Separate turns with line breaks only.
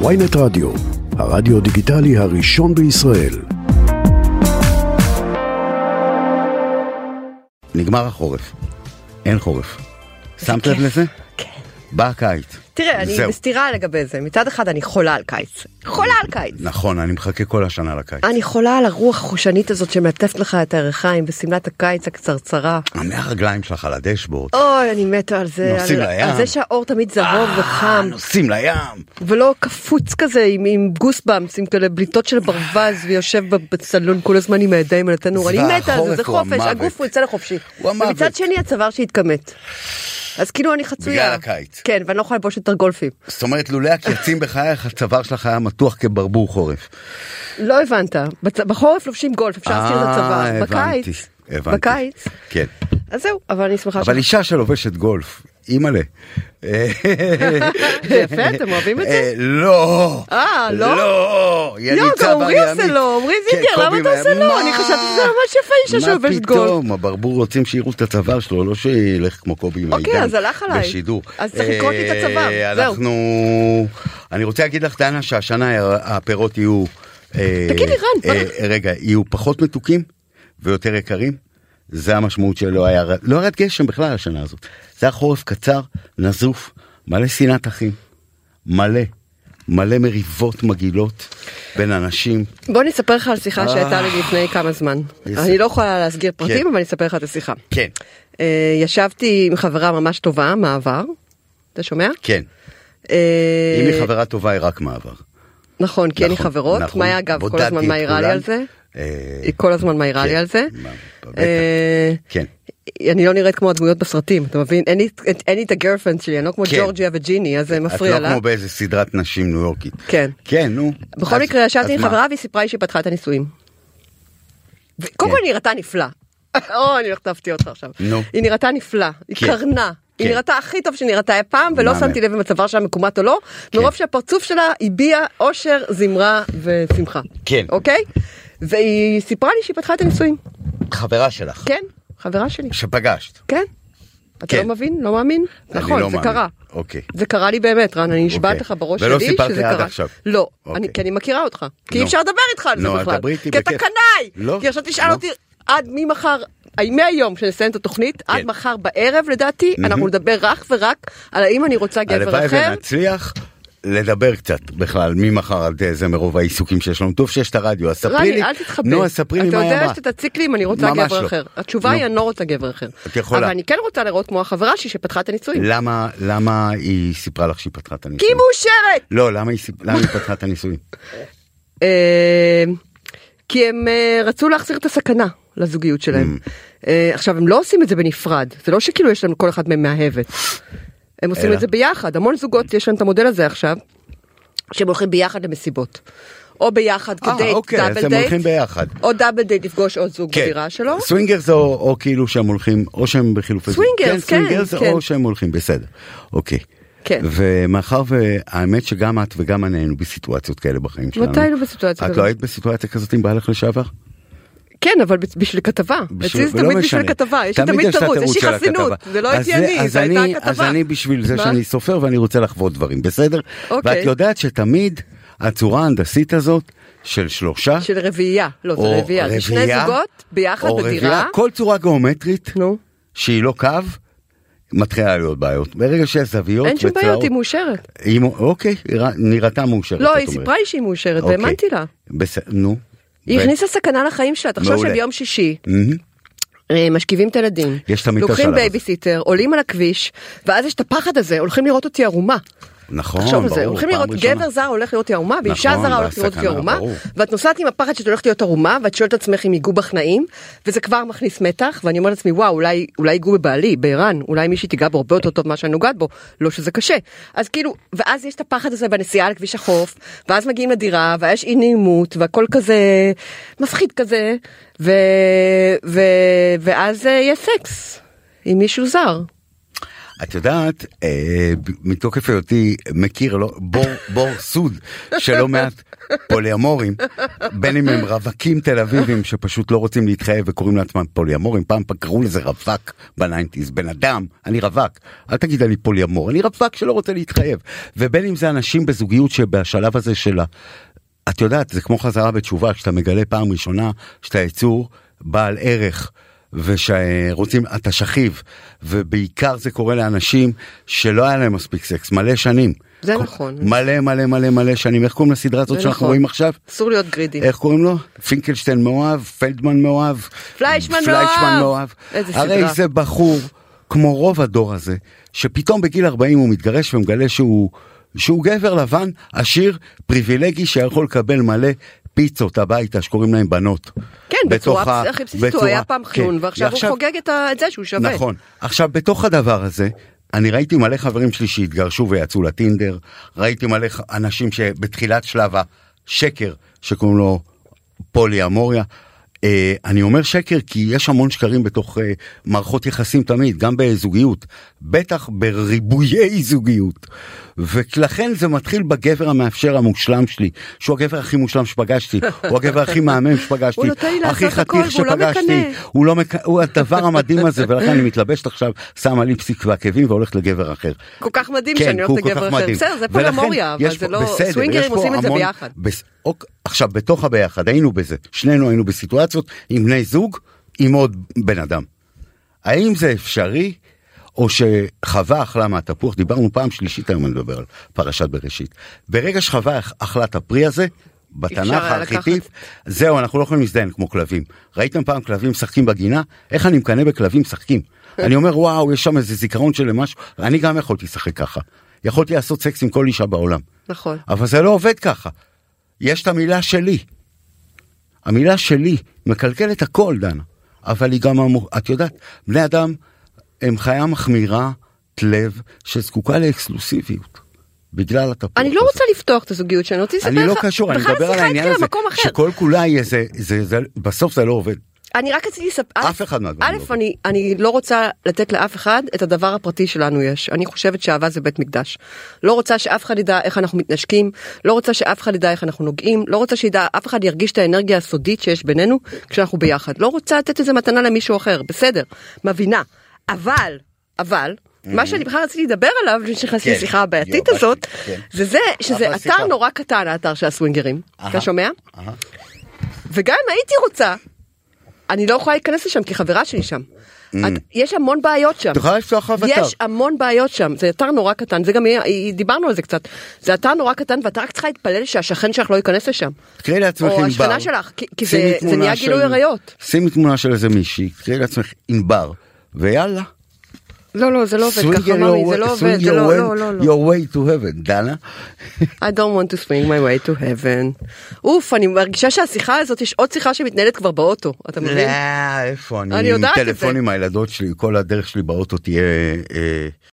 ויינט רדיו, הרדיו דיגיטלי הראשון בישראל.
נגמר החורף, אין חורף. שמת לב לזה?
כן.
בא הקיץ.
תראה, אני
זהו.
בסתירה לגבי זה. מצד אחד אני חולה על קיץ. חולה על קיץ.
נכון, אני מחכה כל השנה לקיץ.
אני חולה על הרוח החושנית הזאת שמעטפת לך את הירכיים בשמלת הקיץ הקצרצרה.
מהרגליים שלך על הדשבורד.
אוי, אני מתה על זה.
נוסעים
על,
לים.
על זה שהאור תמיד זהוב
אה,
וחם,
נוסעים לים.
ולא קפוץ כזה עם, עם גוסבאמס, עם כאלה בליטות של ברווז, ויושב ב- בסלון כל הזמן עם הידיים על התנור.
זה
אני מתה על
החורף
זה, זה
הוא
חופש,
המוות.
הגוף הוא יוצא לחופשי.
הוא המוות.
ומצד שני הצוואר שהתכמת. אז כאילו אני חצויה.
בגלל הקיץ.
כן, ואני לא יכולה ללבוש יותר גולפים.
זאת אומרת, לולא הקרצים בחייך, הצוואר שלך היה מתוח כברבור חורף.
לא הבנת, בצ- בחורף לובשים גולף, אפשר להזכיר את
אה,
הצבא,
הבנתי,
בקיץ,
הבנתי.
בקיץ,
כן.
אז זהו, אבל אני שמחה
אבל אישה שלובשת גולף, אימא'לה.
זה יפה, אתם אוהבים את זה?
אה, לא.
אה, לא?
לא. היא
לא,
ניצה
גם עמרי
בר
עושה
ימית.
לו, עמרי
כן,
זינגר, למה
קובי
אתה עושה
אומר,
לו?
"מה?
אני חשבתי שזה ממש יפה אישה שלובשת
מה
גולף.
פתאום, הברבור רוצים שיראו את הצוואר שלו, לא שילך כמו קובי עם
אוקיי,
העידן.
אז הלך עליי.
בשידור.
אז צריך לקרוא לי את הצוואר,
אה,
זהו.
אנחנו... אני רוצה להגיד לך, דנה, שהשנה הפירות יהיו... אה,
תגיד לי, רן,
אה, רגע, יהיו פחות מתוקים ויותר יקרים? זה המשמעות שלא היה... ר- לא ירד גשם בכלל השנה הזאת. זה היה חורף קצר, נזוף, מלא שנאת אחים. מלא. מלא מריבות מגעילות בין אנשים.
בוא אני אספר לך על שיחה שהייתה לי לפני כמה זמן.
איזה-
אני לא יכולה להסגיר פרטים,
אה, כן.
אבל אני אספר לך את השיחה.
כן,
אה, ישבתי עם חברה ממש טובה מהעבר, אתה שומע?
כן.
אה,
אם היא חברה טובה, היא רק מעבר.
נכון, כי אין לי
נכון,
חברות,
נכון.
מאיה אגב כל
בודדתי
הזמן
את
מעירה לי
כולן.
על זה,
אה,
היא כל הזמן מעירה לי
כן,
על זה.
מה, בטח.
אה,
כן.
אני לא נראית כמו הדמויות בסרטים, אתה מבין? אין לי את- אין לי את הגרפרנד שלי, אני לא כמו
כן.
ג'ורג'יה וג'יני, אז זה
את
מפריע
לא
לה.
כמו באיזה סדרת נשים ניו יורקית.
כן.
כן, נו.
בכל
אז-
מקרה,
אז
ישבתי עם
מה?
חברה והיא סיפרה לי שהיא פתחה את הנישואים. קודם כל היא נראתה נפלא. או, אני הולכת להפתיע אותך עכשיו.
כן. נו.
היא נראתה נפלא, היא
כן.
קרנה. היא
כן.
נראתה הכי טוב שנראתה אי פעם, ולא
מהמם. כן.
שמתי לב אם הצוואר שלה מקומט או לא, מרוב שהפרצוף שלה הביע אושר, זמרה ושמחה.
כן.
אוקיי? והיא סיפרה לי שהיא פתחה את הנישואים.
חברה שלך.
כן, חברה שלי.
שפגשת.
כן. אתה
כן.
לא מבין? לא מאמין?
אני
נכון,
לא
זה
מאמין.
קרה.
אוקיי.
זה קרה לי באמת, רן, אני נשבעת
אוקיי.
לך בראש שלי
ולא
שזה קרה.
סיפרת לי עד עכשיו.
לא,
אוקיי.
אני- כי אני מכירה אותך. כי אי
נו.
אפשר לדבר איתך על זה
נו, אז
בכלל.
דברי איתי
כי אתה
בכיף.
קנאי!
לא.
כי עכשיו תשאל
לא.
אותי עד ממחר, אי, מהיום שנסיים את התוכנית, עד
כן.
מחר בערב לדעתי, אנחנו נדבר רך ורק על האם אני רוצה גבר
הלוואי
אחר.
ונצליח לדבר קצת בכלל ממחר על זה מרוב העיסוקים שיש לנו. טוב שיש את הרדיו, אז ספרי לי.
רני, אל תתחבא.
נו, אז ספרי לי מה היא
אתה
אמרה.
יודע שאתה תציק לי אם אני רוצה
ממש
גבר
לא.
אחר. התשובה היא,
נו.
אני לא רוצה גבר אחר.
את יכולה. לא.
אבל אני כן רוצה לראות כמו החברה שלי שפתחה את הנישואים.
למה, למה היא סיפרה לך שהיא פתחה את
כי
הנישואים?
היא מאושרת!
לא, למה היא סיפ- למה היא פתחה את הנישואים?
אה, כי הם אה, רצו להחזיר את הסכנה לזוגיות שלהם.
Mm.
אה, עכשיו הם לא עושים את זה בנפרד, זה לא שכאילו יש לנו כל אחד מהם מאהבת. הם עושים
אלא?
את זה ביחד, המון זוגות יש להם את המודל הזה עכשיו, שהם הולכים ביחד למסיבות. או ביחד
אה,
כדייט,
אוקיי, אז
דאבל
הם
דייט,
הולכים ביחד.
או דאבל דייט לפגוש עוד זוג בדירה שלו.
כן. סווינגרס או, או כאילו שהם הולכים, או שהם בחילופי זוגות.
סווינגרס, כן,
סווינגרס
כן.
או שהם הולכים, בסדר. אוקיי.
כן.
ומאחר והאמת שגם את וגם אני היינו בסיטואציות כאלה בחיים שלנו.
מתי היינו בסיטואציה
את
כזאת?
לא היית בסיטואציה כזאת עם בעלך לשעבר?
כן, אבל בצ- בשביל כתבה. אצלי זה
ולא
תמיד בשביל
משנה.
כתבה, יש לי תמיד
את
תירוץ,
התירוץ
יש לי
של
חסינות,
הכתבה.
זה לא
אז
הייתי אני,
אז
זו הייתה
אני-
הכתבה.
אז אני בשביל זה
מה?
שאני סופר ואני רוצה לחוות דברים, בסדר?
אוקיי.
ואת יודעת שתמיד הצורה ההנדסית הזאת של שלושה,
של רביעייה, לא, זה
או
רביעייה, זה שני
רביעייה,
זוגות ביחד
או
בדירה.
רביעייה, כל צורה גיאומטרית
נו.
שהיא לא קו, מתחילה להיות בעיות. ברגע שיש זוויות
אין שום
וצלעות-
בעיות, היא מאושרת.
היא מאושרת. אוקיי, היא ר- נראתה מאושרת.
לא,
אה, את
היא
אומרת.
סיפרה לי שהיא מאושרת,
אוקיי.
והאמנתי לה.
בסדר, נו.
היא
ו-
הכניסה סכנה לחיים שלה, תחשוב
מעולה.
שביום שישי.
מהמם.
אה, משכיבים את הילדים,
יש תמיד את
לוקחים
השלב הזה.
בייביסיטר, עולים על הכביש, ואז יש את הפחד הזה, הולכים לראות אותי ערומה.
נכון, ברור.
תחשוב על זה, הולכים
פעם
לראות
ראשונה.
גבר זר הולך להיות ערומה, ואישה
נכון,
זרה הולכת להיות
והסכנה,
ערומה,
ברור.
ואת נוסעת עם הפחד שאת הולכת להיות ערומה, ואת שואלת את עצמך אם ייגעו בך נעים, וזה כבר מכניס מתח, ואני אומרת לעצמי, וואו, אולי אולי ייגעו בבעלי, בערן, אולי מישהי תיגע בו הרבה יותר טוב ממה שאני נוגעת בו, לא שזה קשה. אז כאילו, ואז יש את הפחד הזה בנסיעה על כביש החוף, ואז מגיעים לדירה, ויש אי נעימות, והכל כזה מפחיד כזה, ו... ו... ואז אה, יש סקס עם מישהו זר.
את יודעת, אה, ב- מתוקף היותי מכיר לא, בור, בור סוד של לא מעט פוליאמורים, בין אם הם רווקים תל אביבים שפשוט לא רוצים להתחייב וקוראים לעצמם פוליאמורים, פעם פ- קראו לזה רווק בניינטיז, בן אדם, אני רווק, אל תגיד לי פוליאמור, אני רווק שלא רוצה להתחייב, ובין אם זה אנשים בזוגיות שבשלב הזה של ה... את יודעת, זה כמו חזרה בתשובה, כשאתה מגלה פעם ראשונה שאתה יצור בעל ערך. ושרוצים, אתה שכיב, ובעיקר זה קורה לאנשים שלא היה להם מספיק סקס, מלא שנים.
זה
כל-
נכון.
מלא מלא מלא מלא שנים, איך קוראים לסדרה הזאת
זה
שאנחנו
נכון.
רואים עכשיו?
אסור להיות גרידי.
איך קוראים לו? פינקלשטיין מאוהב, פלדמן מאוהב,
פליישמן מאוהב. איזה סדרה.
הרי זה בחור, כמו רוב הדור הזה, שפתאום בגיל 40 הוא מתגרש ומגלה שהוא, שהוא גבר לבן, עשיר, פריבילגי, שיכול לקבל מלא. פיצות הביתה שקוראים להם בנות.
כן,
בתוך
בצורה
ה-
הכי בסיסית, הוא
בצורה-
היה פעם חנון,
כן.
ועכשיו הוא חוגג את ה- את זה שהוא שווה.
נכון. עכשיו, בתוך הדבר הזה, אני ראיתי מלא חברים שלי שהתגרשו ויצאו לטינדר, ראיתי מלא ח- אנשים שבתחילת שלב השקר, שקוראים לו פולי אמוריה. אה, אני אומר שקר כי יש המון שקרים בתוך אה, מערכות יחסים תמיד, גם בזוגיות, בטח בריבויי זוגיות. ולכן זה מתחיל בגבר המאפשר המושלם שלי, שהוא הגבר הכי מושלם שפגשתי, הוא הגבר הכי מהמם שפגשתי,
הוא נותן לי
הכי
לעשות הכל
חתיך
והוא לא
שפגשתי,
מקנא.
הוא לא מק... הוא הדבר המדהים הזה ולכן אני מתלבשת עכשיו שמה ליפסטיק ועקבים והולכת לגבר אחר.
כל כך מדהים שאני
כן, הוא
הולכת
כל כך
לגבר אחר.
מדהים.
בסדר, זה
ולכן
פולמוריה, אבל
יש
זה
פה-
לא...
בסדר, יש
סווינגרים
פה
עושים את זה
המון-
ביחד.
בס... אוק, עכשיו בתוך הביחד היינו בזה שנינו היינו בסיטואציות עם בני זוג עם עוד בן אדם. האם זה אפשרי או שחווה אכלה מהתפוח דיברנו פעם שלישית היום אני מדבר על פרשת בראשית ברגע שחווה אכ- אכלה את הפרי הזה.
אפשר
בתנ"ך
היה לקחת.
הארכיטיב, זהו אנחנו לא יכולים להזדיין כמו כלבים. ראיתם פעם כלבים משחקים בגינה? איך אני מקנא בכלבים משחקים? אני אומר וואו יש שם איזה זיכרון של משהו, אני גם יכולתי לשחק ככה. יכולתי לעשות סקס עם כל אישה בעולם.
נכון.
אבל זה לא עובד ככה. יש את המילה שלי. המילה שלי מקלקלת הכל, דנה. אבל היא גם, המו... את יודעת, בני אדם הם חיה מחמירת לב שזקוקה לאקסקלוסיביות. בגלל התפוח.
אני לא
הזה.
רוצה לפתוח את הזוגיות שאני רוצה לספר לך.
אני לא קשור, אני מדבר על העניין הזה,
בכלל השיחה התחילה במקום אחר.
שכל כולה היא איזה, זה, זה, בסוף זה לא עובד.
אני רק רציתי לספר,
אף אחד מהדברים לא
א', אני, אני לא רוצה לתת לאף אחד את הדבר הפרטי שלנו יש. אני חושבת שאהבה זה בית מקדש. לא רוצה שאף אחד ידע איך אנחנו מתנשקים, לא רוצה שאף אחד ידע איך אנחנו נוגעים, לא רוצה שידע, אף אחד ירגיש את האנרגיה הסודית שיש בינינו כשאנחנו ביחד. לא רוצה לתת איזה מתנה למישהו אחר, בסדר, מבינה. אבל, אבל, מה שאני בכלל רציתי לדבר עליו, כשנכנסתי
Mm-hmm. כן.
לשיחה הבעייתית
יובשתי,
הזאת,
כן.
זה זה
אבל
שזה
סליחה.
אתר נורא קטן, האתר של הסווינגרים.
אהה.
אתה שומע?
אהה.
וגם אם הייתי רוצה, אני לא יכולה להיכנס לשם כי חברה שלי שם. את- יש המון בעיות שם.
Mm. את יכולה לפתוח אבטר.
יש המון בעיות שם, זה אתר נורא קטן, זה גם, יהיה- אה, דיברנו על זה קצת, זה אתר נורא קטן ואתה רק צריכה להתפלל שהשכן שלך לא ייכנס לשם.
תקראי לעצמך
או
ענבר.
השכנה שלך, כי- כי
שימי
זה- זה
תמונה
נהיה גילוי עריות.
שימי תמונה של איזה מישהי, תקראי לעצמך ענבר, ויאללה.
לא, לא, זה לא עובד
Swing
ככה,
your
מאמי, זה
way-
לא
swing
עובד, זה
your
לא,
way-
לא, לא, לא.
your way to heaven, דנה.
I don't want to swing my way to heaven. אוף, אני מרגישה שהשיחה הזאת, יש עוד שיחה שמתנהלת כבר באוטו, אתה
לא,
מבין?
איפה אני?
אני יודעת את
עם טלפון
זה.
עם הילדות שלי, כל הדרך שלי באוטו תהיה אה,